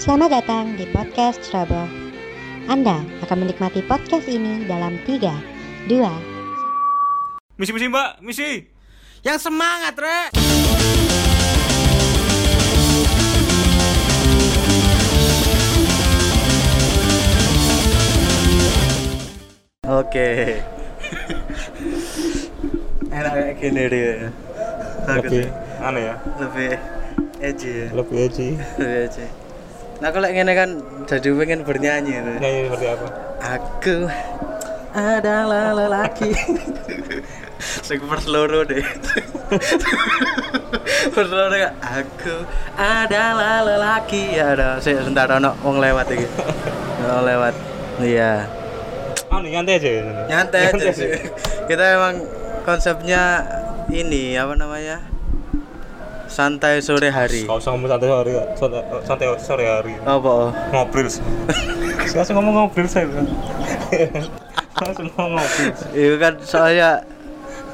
Selamat datang di podcast Trouble. Anda akan menikmati podcast ini dalam 3, 2, Misi misi mbak, misi. Yang semangat, Rek. Oke. Enak kayak gini dia. Aku Lebih- sih Aneh ya. lebih edgy ya. Lebih aja. Lebih edgy. Nah, kalau yang ini kan jadi pengen bernyanyi itu. Nyanyi seperti apa? Aku adalah lelaki. Sing perseloro deh. perseloro Kak. aku adalah lelaki. Ya ada sik sebentar ono wong lewat iki. Ono lewat. Iya. Oh, nih, nyantai aja. ya? nyantai aja sih kita emang konsepnya ini apa namanya santai sore hari Kau usah ngomong santai sore, santai- santai sore hari. apa oh? Ngobrol. sih. Langsung ngomong ngobrol saya. Bro. Langsung ngomong ngobrol. itu kan soalnya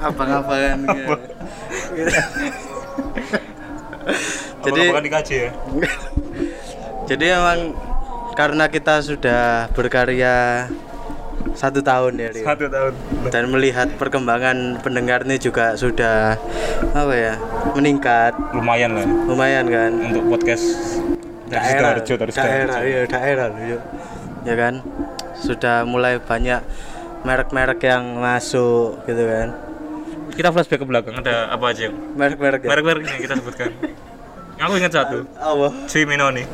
abang-abangan gitu. Jadi Jadi- bukan dikaji ya. jadi emang karena kita sudah berkarya satu tahun ya Rio. Satu tahun. dan melihat perkembangan pendengar ini juga sudah apa ya meningkat Lumayan lah ya lumayan kan untuk podcast dari Sidoarjo, dari daerah, Sidoarjo. iya daerah loh, iya. ya kan sudah mulai banyak merek-merek yang masuk gitu kan Kita flashback ke belakang. Ada apa aja? yang- merek-merek ya? Merek-merek yang kita sebutkan. Aku ingat satu. apa Si Minoni.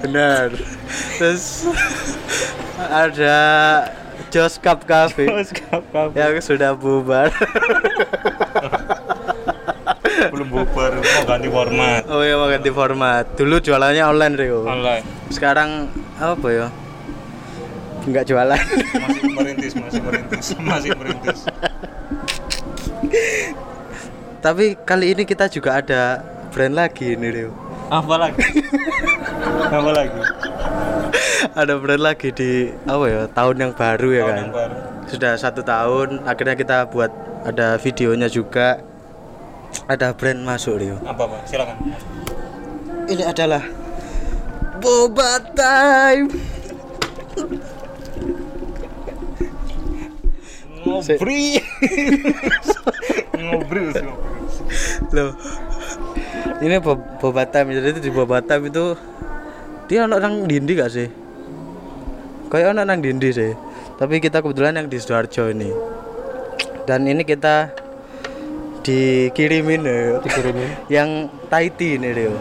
benar terus ada Jos Cup Cafe Terus kapan? yang sudah bubar Belum bubar, mau ganti format. oh iya mau ganti format dulu jualannya online Rio Online. sekarang apa ya nggak jualan masih merintis masih merintis masih merintis tapi kali ini kita juga ada brand lagi ini Rio apa lagi apa lagi ada brand lagi di apa ya tahun yang baru ya Tahun kan yang baru. sudah satu tahun akhirnya kita buat ada videonya juga ada brand masuk Rio apa pak silakan ini adalah Boba Time ngobri ngobri loh ini Bo- Boba Time jadi itu di Boba Time itu dia anak nang dindi gak sih kayak anak nang dindi sih tapi kita kebetulan yang di Sidoarjo ini dan ini kita dikirimin iya. Rio. yang Tahiti ini Rio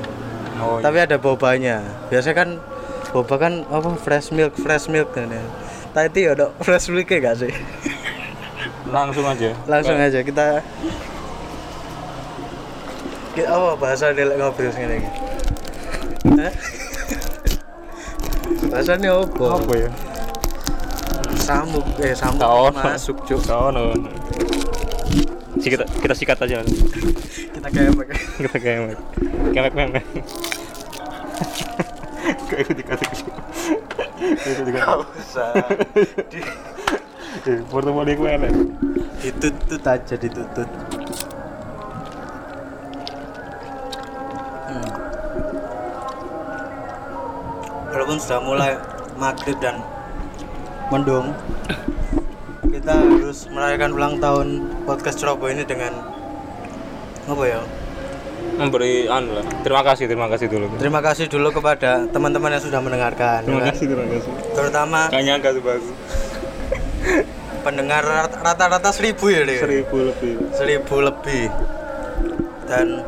oh, tapi ada bobanya biasanya kan boba kan apa fresh milk fresh milk kan ya tadi ada fresh milk gak sih langsung aja langsung aja kita kita apa bahasa nih lek ngobrol segini iki? Hah? bahasanya apa apa ya samuk eh samuk Gak ono. masuk cuk sono Si kita kita sikat aja langsung. kita kayak pakai kita kemek kemek kemek kayak ikut dikasih ikut dikasih usah Eh, portofolio gue enak ditutut aja ditutut Hmm. walaupun sudah mulai maghrib dan mendung kita harus merayakan ulang tahun podcast Ceroboh ini dengan apa ya memberi anu lah terima kasih terima kasih dulu terima kasih dulu kepada teman-teman yang sudah mendengarkan ya kan? terima kasih terutama Gak nyangka tuh bagus pendengar rat- rata-rata seribu ya Rio? Seribu lebih seribu lebih dan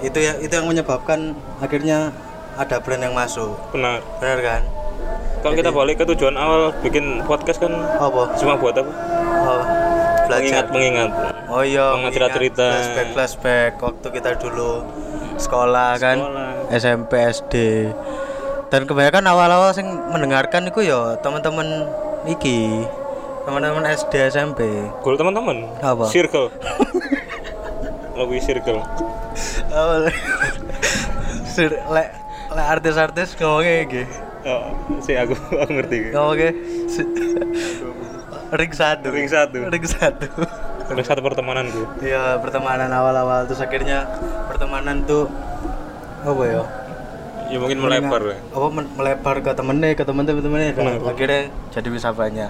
itu ya itu yang menyebabkan akhirnya ada brand yang masuk Benar benar kan Kalau kita balik ke tujuan awal bikin podcast kan apa Cuma buat apa? oh, Mengingat, belajar mengingat oh iya Mengingat cerita-cerita. flashback flashback waktu kita dulu sekolah kan Sekolah. SMP SD dan kebanyakan awal-awal sing mendengarkan itu ya teman-teman iki teman-teman SD SMP Goal teman-teman Apa? Circle Lebih circle Awal- Sir, lek lek artis-artis ngomongnya gitu Oh, si aku, aku ngerti Oke. Ring satu. Ring satu. Ring satu. Pada saat pertemanan gue. Iya pertemanan awal-awal terus akhirnya pertemanan tuh apa ya? Ya mungkin melebar ya. Apa men- melebar ke temennya, ke temen temen temennya dan akhirnya jadi bisa banyak.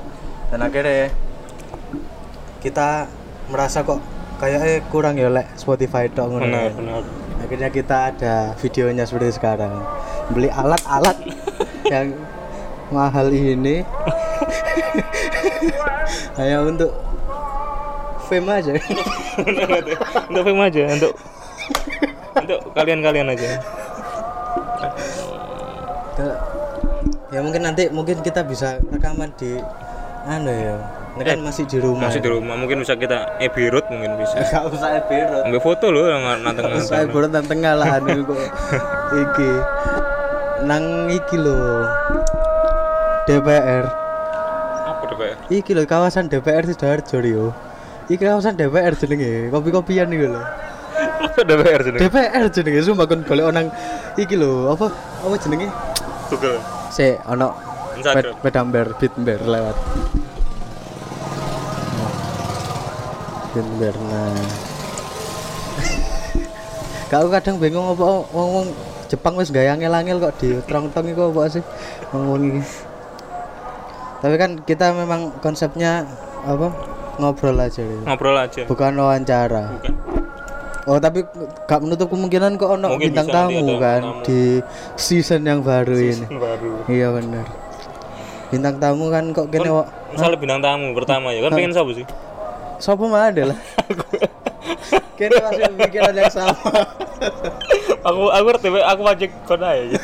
Dan akhirnya kita merasa kok kayaknya kurang ya lek Spotify ya. dong. Benar, benar. Akhirnya kita ada videonya seperti sekarang. Beli alat-alat yang mahal ini hanya untuk fame aja. Untuk film aja, untuk untuk kalian-kalian aja. Ke- ya mungkin nanti mungkin kita bisa rekaman di anu ya ini kan masih di Eh, rumah Masih di rumah mungkin bisa kita ebirut mungkin bisa. gak usah berut Ambil foto loh yang nanteng gak usah berut nang tengah lah anu kok iki nang iki lo DPR Apa tuh ya? kayak? iki lo kawasan DPR Sidoarjo yo iki kawasan DPR jenenge kopi-kopian iki lho Masa DPR sini? DPR jenenge sumpah kon golek onang iki lho apa apa jenenge Google. Sik, ono Instagram. ped- pedamber bitmber lewat. Bitmber nah. Kau kadang bingung apa wong-wong Jepang wis gawe angel-angel kok diterong-tong iku apa sih wong-wong iki. Tapi kan kita memang konsepnya apa? Ngobrol aja gitu. Ngobrol aja. Bukan wawancara. Bukan. Oh tapi gak menutup kemungkinan kok ono Mungkin bintang bisa nanti tamu ada kan tamu. di season yang baru ini. Baru. Iya benar. Bintang tamu kan kok kene wak. Misalnya bintang tamu pertama ya kan pengen siapa sih? Sopo mah ada lah. kene masih pemikiran yang sama. Aku aku ngerti, Pak. aku wajib kon aja.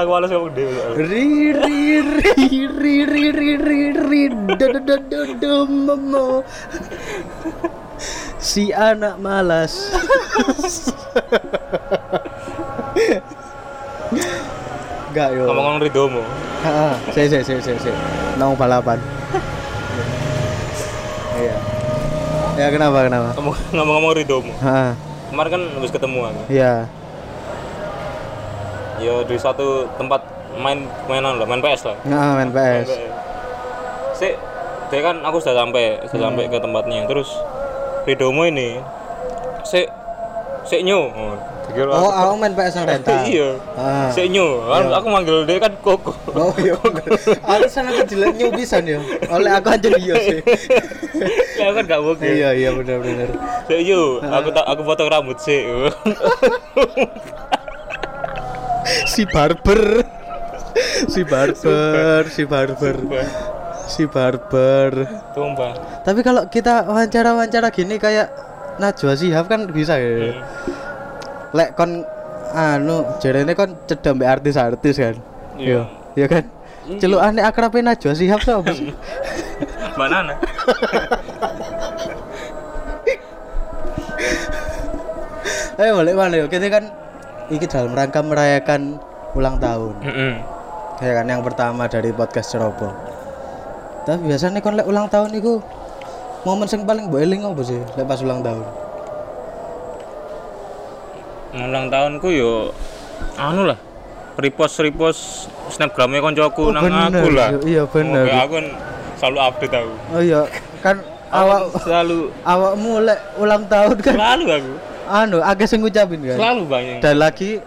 Aku males ngomong dhewe. soalnya. Ri ri ri ri ri ri ri ri da da da da da memo. Si anak malas. Enggak yo. Ngomong-ngomong Ridomo. Heeh, saya saya saya saya saya. Nong balapan. Iya. Ya kenapa kenapa? Ngomong- Ngomong-ngomong Ridomo. Heeh. Kemarin kan habis ketemu aku. Iya. Ya di satu tempat main mainan lah, main PS lah. Heeh, main PS. Si, dia kan aku sudah sampai, sudah sampai Hmm. ke tempatnya. Terus Ridomo ini si si nyu. Oh, dikira Oh, aku- aku main PS yang rental. Iya. Ah. Si nyu. Kan Aku manggil dia kan Koko. Oh iya. Alasan aku jelek nyu pisan yo. Oleh aku aja iya sih. ya kan gak mungkin. Iya Ah. iya benar benar. Si nyu, aku tak aku potong rambut si. Si barber. Si barber, si barber. Si barber. Tumpah. Tapi kalau kita wawancara-wawancara gini kayak Najwa Shihab kan bisa Hmm. ya. Lek kon anu jarene kon cedek mbek artis-artis kan. Iya. Hmm. Iya kan? Celukane akrabe Najwa Shihab sapa sih? Mbak Nana. Eh balik mana yuk? Kita kan ini dalam rangka merayakan ulang tahun. Heeh. Ya kan yang pertama dari podcast Ceroboh. Tapi biasanya kon lek ulang tahun itu momen sing paling mbok eling apa sih? Lek pas ulang tahun. Ulang tahunku yo anu lah. Repost repost snapgramnya koncoku nang aku lah. Iya, Iya bener. Oke, aku kan selalu update aku. Oh iya, kan awak Selalu awakmu lek ulang tahun kan selalu aku. anu agak sing ngucapin kan. Selalu banyak. Dan lagi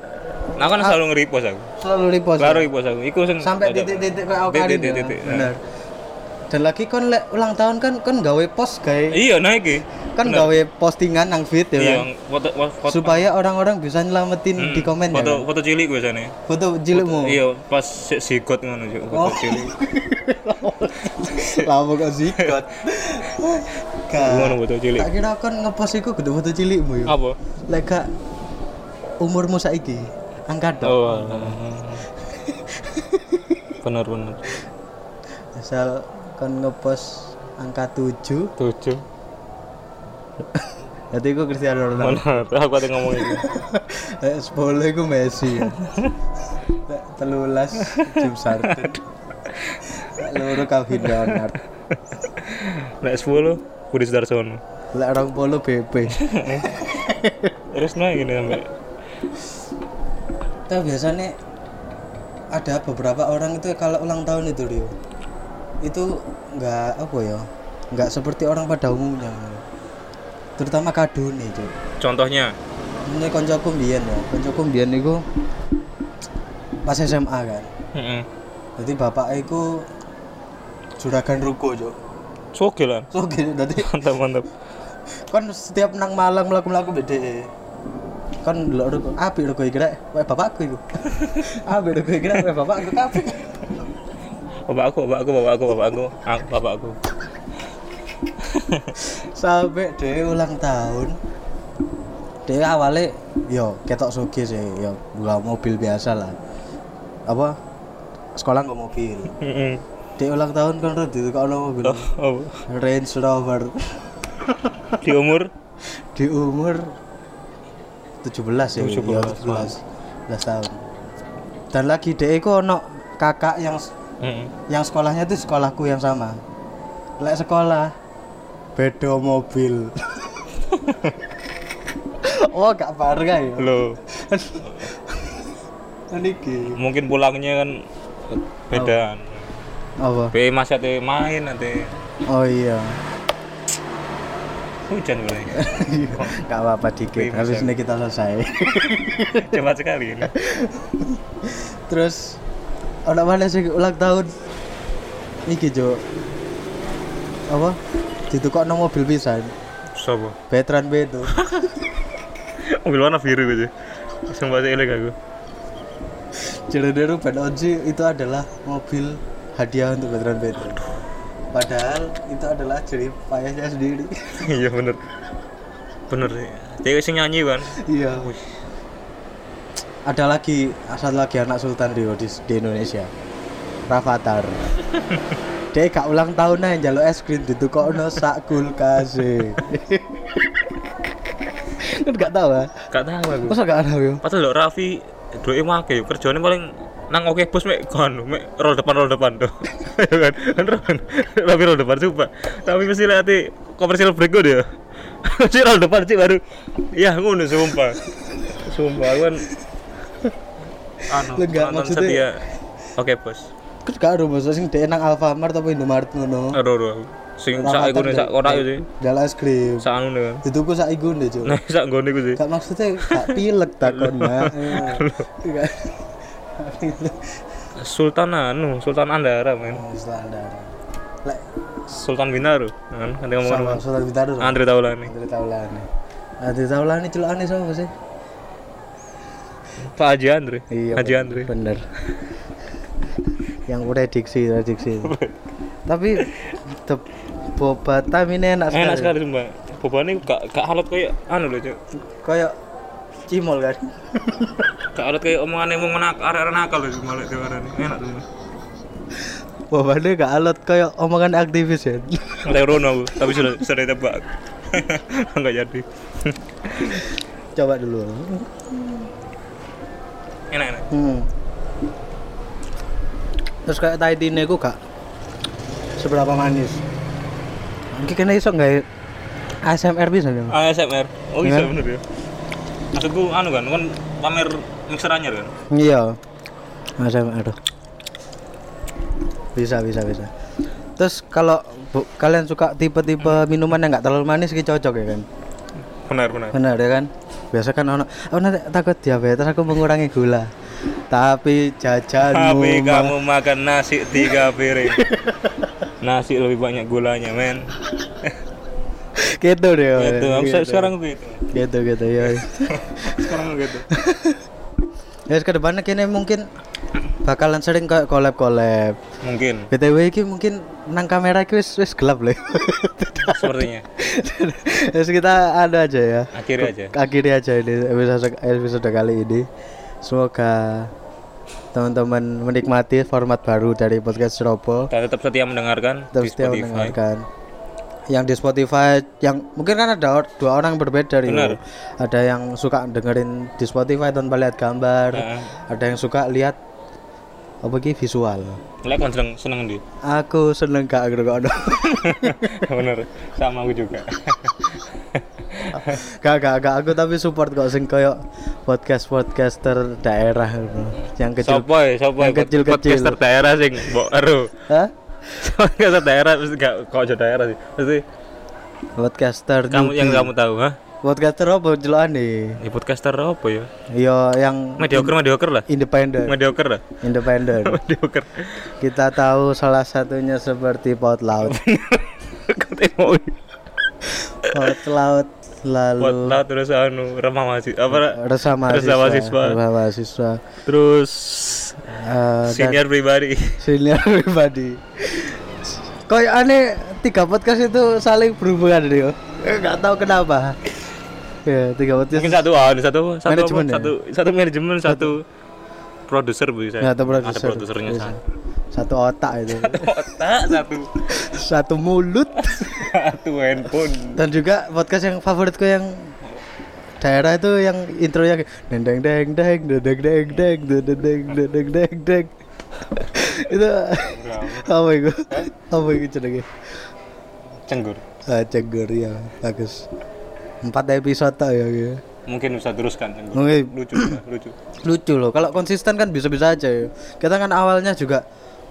Aku kan selalu nge-repost aku. selalu repost. Selalu repost aku. Iku sing sampai titik-titik kayak awak kali. ya. Titik-titik, Bener. Dan lagi kon lek ulang tahun kan kon gawe post gawe Iya, nah iki. kan gawe postingan nang feed ya kan? Iya, foto foto supaya orang-orang bisa nyelamatin di komen ya Hmm. foto kan? foto cilik biasanya. foto cilikmu Oh. Iya, pas sik sigot ngono juk foto cilik. lama kok sikot Ngono Gak. foto cilik. tak kira kan ngepost iku gede foto cilikmu ya Apa? lek gak umurmu saiki angkat dong Oh. alah. Bener bener. asal kan ngepost angka 7 Tujuh. berarti iku Cristiano Ronaldo Bener. Aku ada ngomong itu. Eh, 10 iku Messi ya. Lek 13 James Harden Lek loro Kevin Leonard Lek 10 Budi Sudarsono. Lek orang polo BP. Terus nah gini sampai Tapi biasanya ada beberapa orang itu kalau ulang tahun itu Rio, itu nggak apa ya, nggak seperti orang pada umumnya. terutama kadune cuk Contohnya, ini koncoku mbiyen ya koncoku mbiyen niku pas SMA kan heeh. jadi bapak iku juragan ruko cuk Soge lah. so gini dadi Mantap mantap. kan setiap nang malang melaku-melaku beda kan delok ruko apik ruko iki rek wae bapakku iku apik ruko iki rek wae bapakku apik Bapak aku, bapak aku, bapak aku, bapak aku, aku, bapak aku. sampai dhewe ulang tahun dhewe awalnya yo ketok sugih sih yo dua mobil biasa lah apa sekolah nggak mobil Heeh. dhewe ulang tahun kan udah itu mobil Oh, Range Rover di umur di umur 17 ya 17, iya, 17 11 tahun dan lagi dhewe ku ono kakak yang Heeh. yang sekolahnya itu sekolahku yang sama lek sekolah bedo mobil oh gak parah ya Loh, niki mungkin pulangnya kan beda. apa Be masih ada main nanti oh iya hujan mulai. gak apa-apa dikit Wih, habis Iya. bisa. ini kita selesai Cepat sekali ini. terus ada mana sih ulang tahun niki jo apa itu kok mobil pisan Sopo? veteran B itu Mobil warna biru gitu. Langsung bahasa elek aku. Jerenero Ben Oji itu adalah mobil hadiah untuk veteran Pedro. Padahal itu adalah jerih payahnya sendiri. Iya bener. Bener sih. Dia sing nyanyi kan. iya. Wih. Ada lagi satu lagi anak Sultan Rio di, di Indonesia. Rafathar. Dia gak ulang tahun aja jalur es krim di tukokno sak kulkas. e. Kan gak tahu ah. Gak tahu aku. Masa gak tahu yo? Padahal lho Raffi duwe make yo kerjane paling nang oke bos mek kan mek roll depan roll depan tuh. kan kan kan Raffi roll depan coba. Tapi mesti lihat di komersial break gue dia. Si roll depan sih baru ya ngono sumpah. Sumpah aku kan anu Lah, nggak, penonton maksudnya- setia. Oke bos. Kan gak ada masa sing dia nang Alfamart atau Indomaret ngono. Aduh aduh. Sing sak iku sak korak itu. Jalur es krim. Sak anu kan. Itu ku sak iku ndek, Cuk. Nah sak gone iku sih. Gak maksudnya gak pilek takon Mak. Gak Sultan anu, Sultan Andara men. standar. Lek Sultan Bintaro kan ada sama ngomong surat bitar dulu. Andre Taulani. Andri Taulani. Andri Taulani celokane sapa sih? Pak Haji Andre. Haji bener. Andre. Bener. Yang prediksi prediksi. Tapi the boba tam ini enak sekali. Enak sekali sumpah. Bobone gak gak halot kayak anu lho, Cuk. Kayak cimol kan. Gak halot kayak omongane wong nak arek-arek nakal lho sumpah lek diwarani. Enak sumpah. Bobane gak alot kayak omongan aktivis ya. Ada Rono aku, tapi sudah sudah tebak. Enggak jadi. Coba dulu. Enak enak. Hmm. Terus kayak tai tine ku gak seberapa manis. Mungkin kena iso nggak ya? ASMR bisa nih. ASMR. Oh iya Iya. bener ya. Maksudku anu kan, kan pamer mixer anyar kan. Iya. ASMR. Bisa bisa bisa. Terus kalau bu- kalian suka tipe-tipe minuman yang nggak terlalu manis, ki cocok ya kan? Benar benar. Benar ya kan? Biasa kan ono, aku nanti takut diabetes, aku mengurangi gula. Tapi jajanmu Tapi ma- kamu makan nasi tiga piring. nasi lebih banyak gulanya, men. gitu deh. Itu, aku se- gitu. sekarang tuh itu. gitu gitu ya. Sekarang gitu. Ya ke depannya kini mungkin bakalan sering kayak collab collab. Mungkin BTW iki mungkin nang kamera iki wis wis gelap loh. sepertinya. Terus kita ada aja ya. Akhirnya aja. Akhiri aja ini episode episode kali ini. Semoga teman-teman menikmati format baru dari podcast Robo. Kita tetap setia mendengarkan di Terus dia Spotify. mendengarkan yang di Spotify yang mungkin kan ada or- dua orang berbeda dari Benar. ada yang suka dengerin di Spotify tanpa lihat gambar Heeh. ada yang suka lihat apa ki visual Lek kon seneng seneng di. aku seneng gak ngerokok Bener. Sama aku juga. gak gak gak aku tapi support kok sing koyo podcast podcaster daerah bro. yang kecil Sopoy, sopoy. yang kecil-kecil. Podcaster daerah ya? sing mbok ya, ero. Hah? Podcaster daerah mesti gak kok aja daerah sih. Mesti podcaster Kamu yang newbie. kamu tahu, ha? podcaster apa jelokane Ya, podcaster apa ya? ya yang Mediocre, mediocre lah. independen Mediocre lah. independen Mediocre. kita tahu salah satunya seperti pot laut Katanya mau pot laut buat lalu lah terus anu remah masih apa resah mahasiswa Resah mahasiswa. resah mahasiswa terus Eh, dan senior pribadi. senior pribadi Kayak aneh tiga podcast itu saling berhubungan dia nggak tahu kenapa ya tiga podcast Mungkin satu anu, satu satu apa? Manajemen ya? satu satu manajemen, satu produser bisa. nggak tahu Ada Ya, produser produsernya Iya, satu. satu otak itu Otak satu satu mulut satu handphone. dan juga podcast yang favoritku yang daerah itu yang intronya kayak deng deng deng deng deng deng deng deng deng deng deng deng deng deng deng itu apa itu apa itu cenderung Cenggur. ah cenggur ya bagus empat episode tak ya gitu. Mungkin bisa teruskan cenggur. Mungkin- Lucu, juga, lucu. lucu loh kalau konsisten kan bisa-bisa aja ya kita kan awalnya juga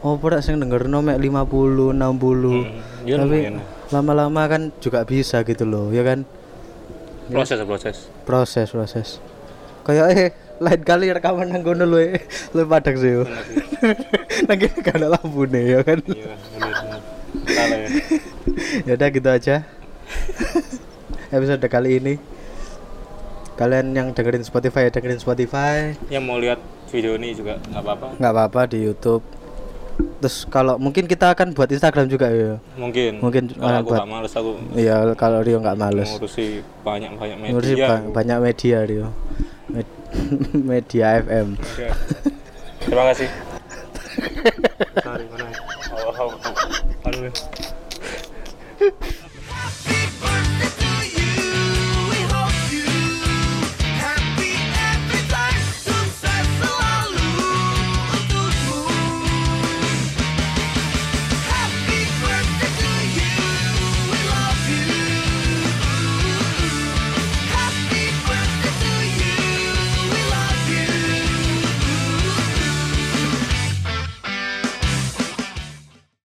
oh pura sing denger nomek 50 60 iya tapi lumayan. lama-lama kan juga bisa gitu loh ya kan Ya. Proses, proses. proses proses kayak eh lain kali rekaman nang kono lu lu padang sih yo. nang kene gak ada lampu nih ya kan Iya, bener, bener. Salah ya. ya udah gitu aja episode kali ini kalian yang dengerin Spotify ya dengerin Spotify Yang mau lihat video ini juga nggak apa-apa. nggak apa-apa di YouTube terus kalau mungkin kita akan buat Instagram juga ya Mungkin. Mungkin, Kalau ah, aku buat- nggak males aku iya kalau Rio nggak males ngurusi banyak-banyak media. Iya. ngurusi ba- banyak media Rio Med- media FM Oke. Terima kasih. Sorry, mana? ya? Oh, oh, oh. Aduh.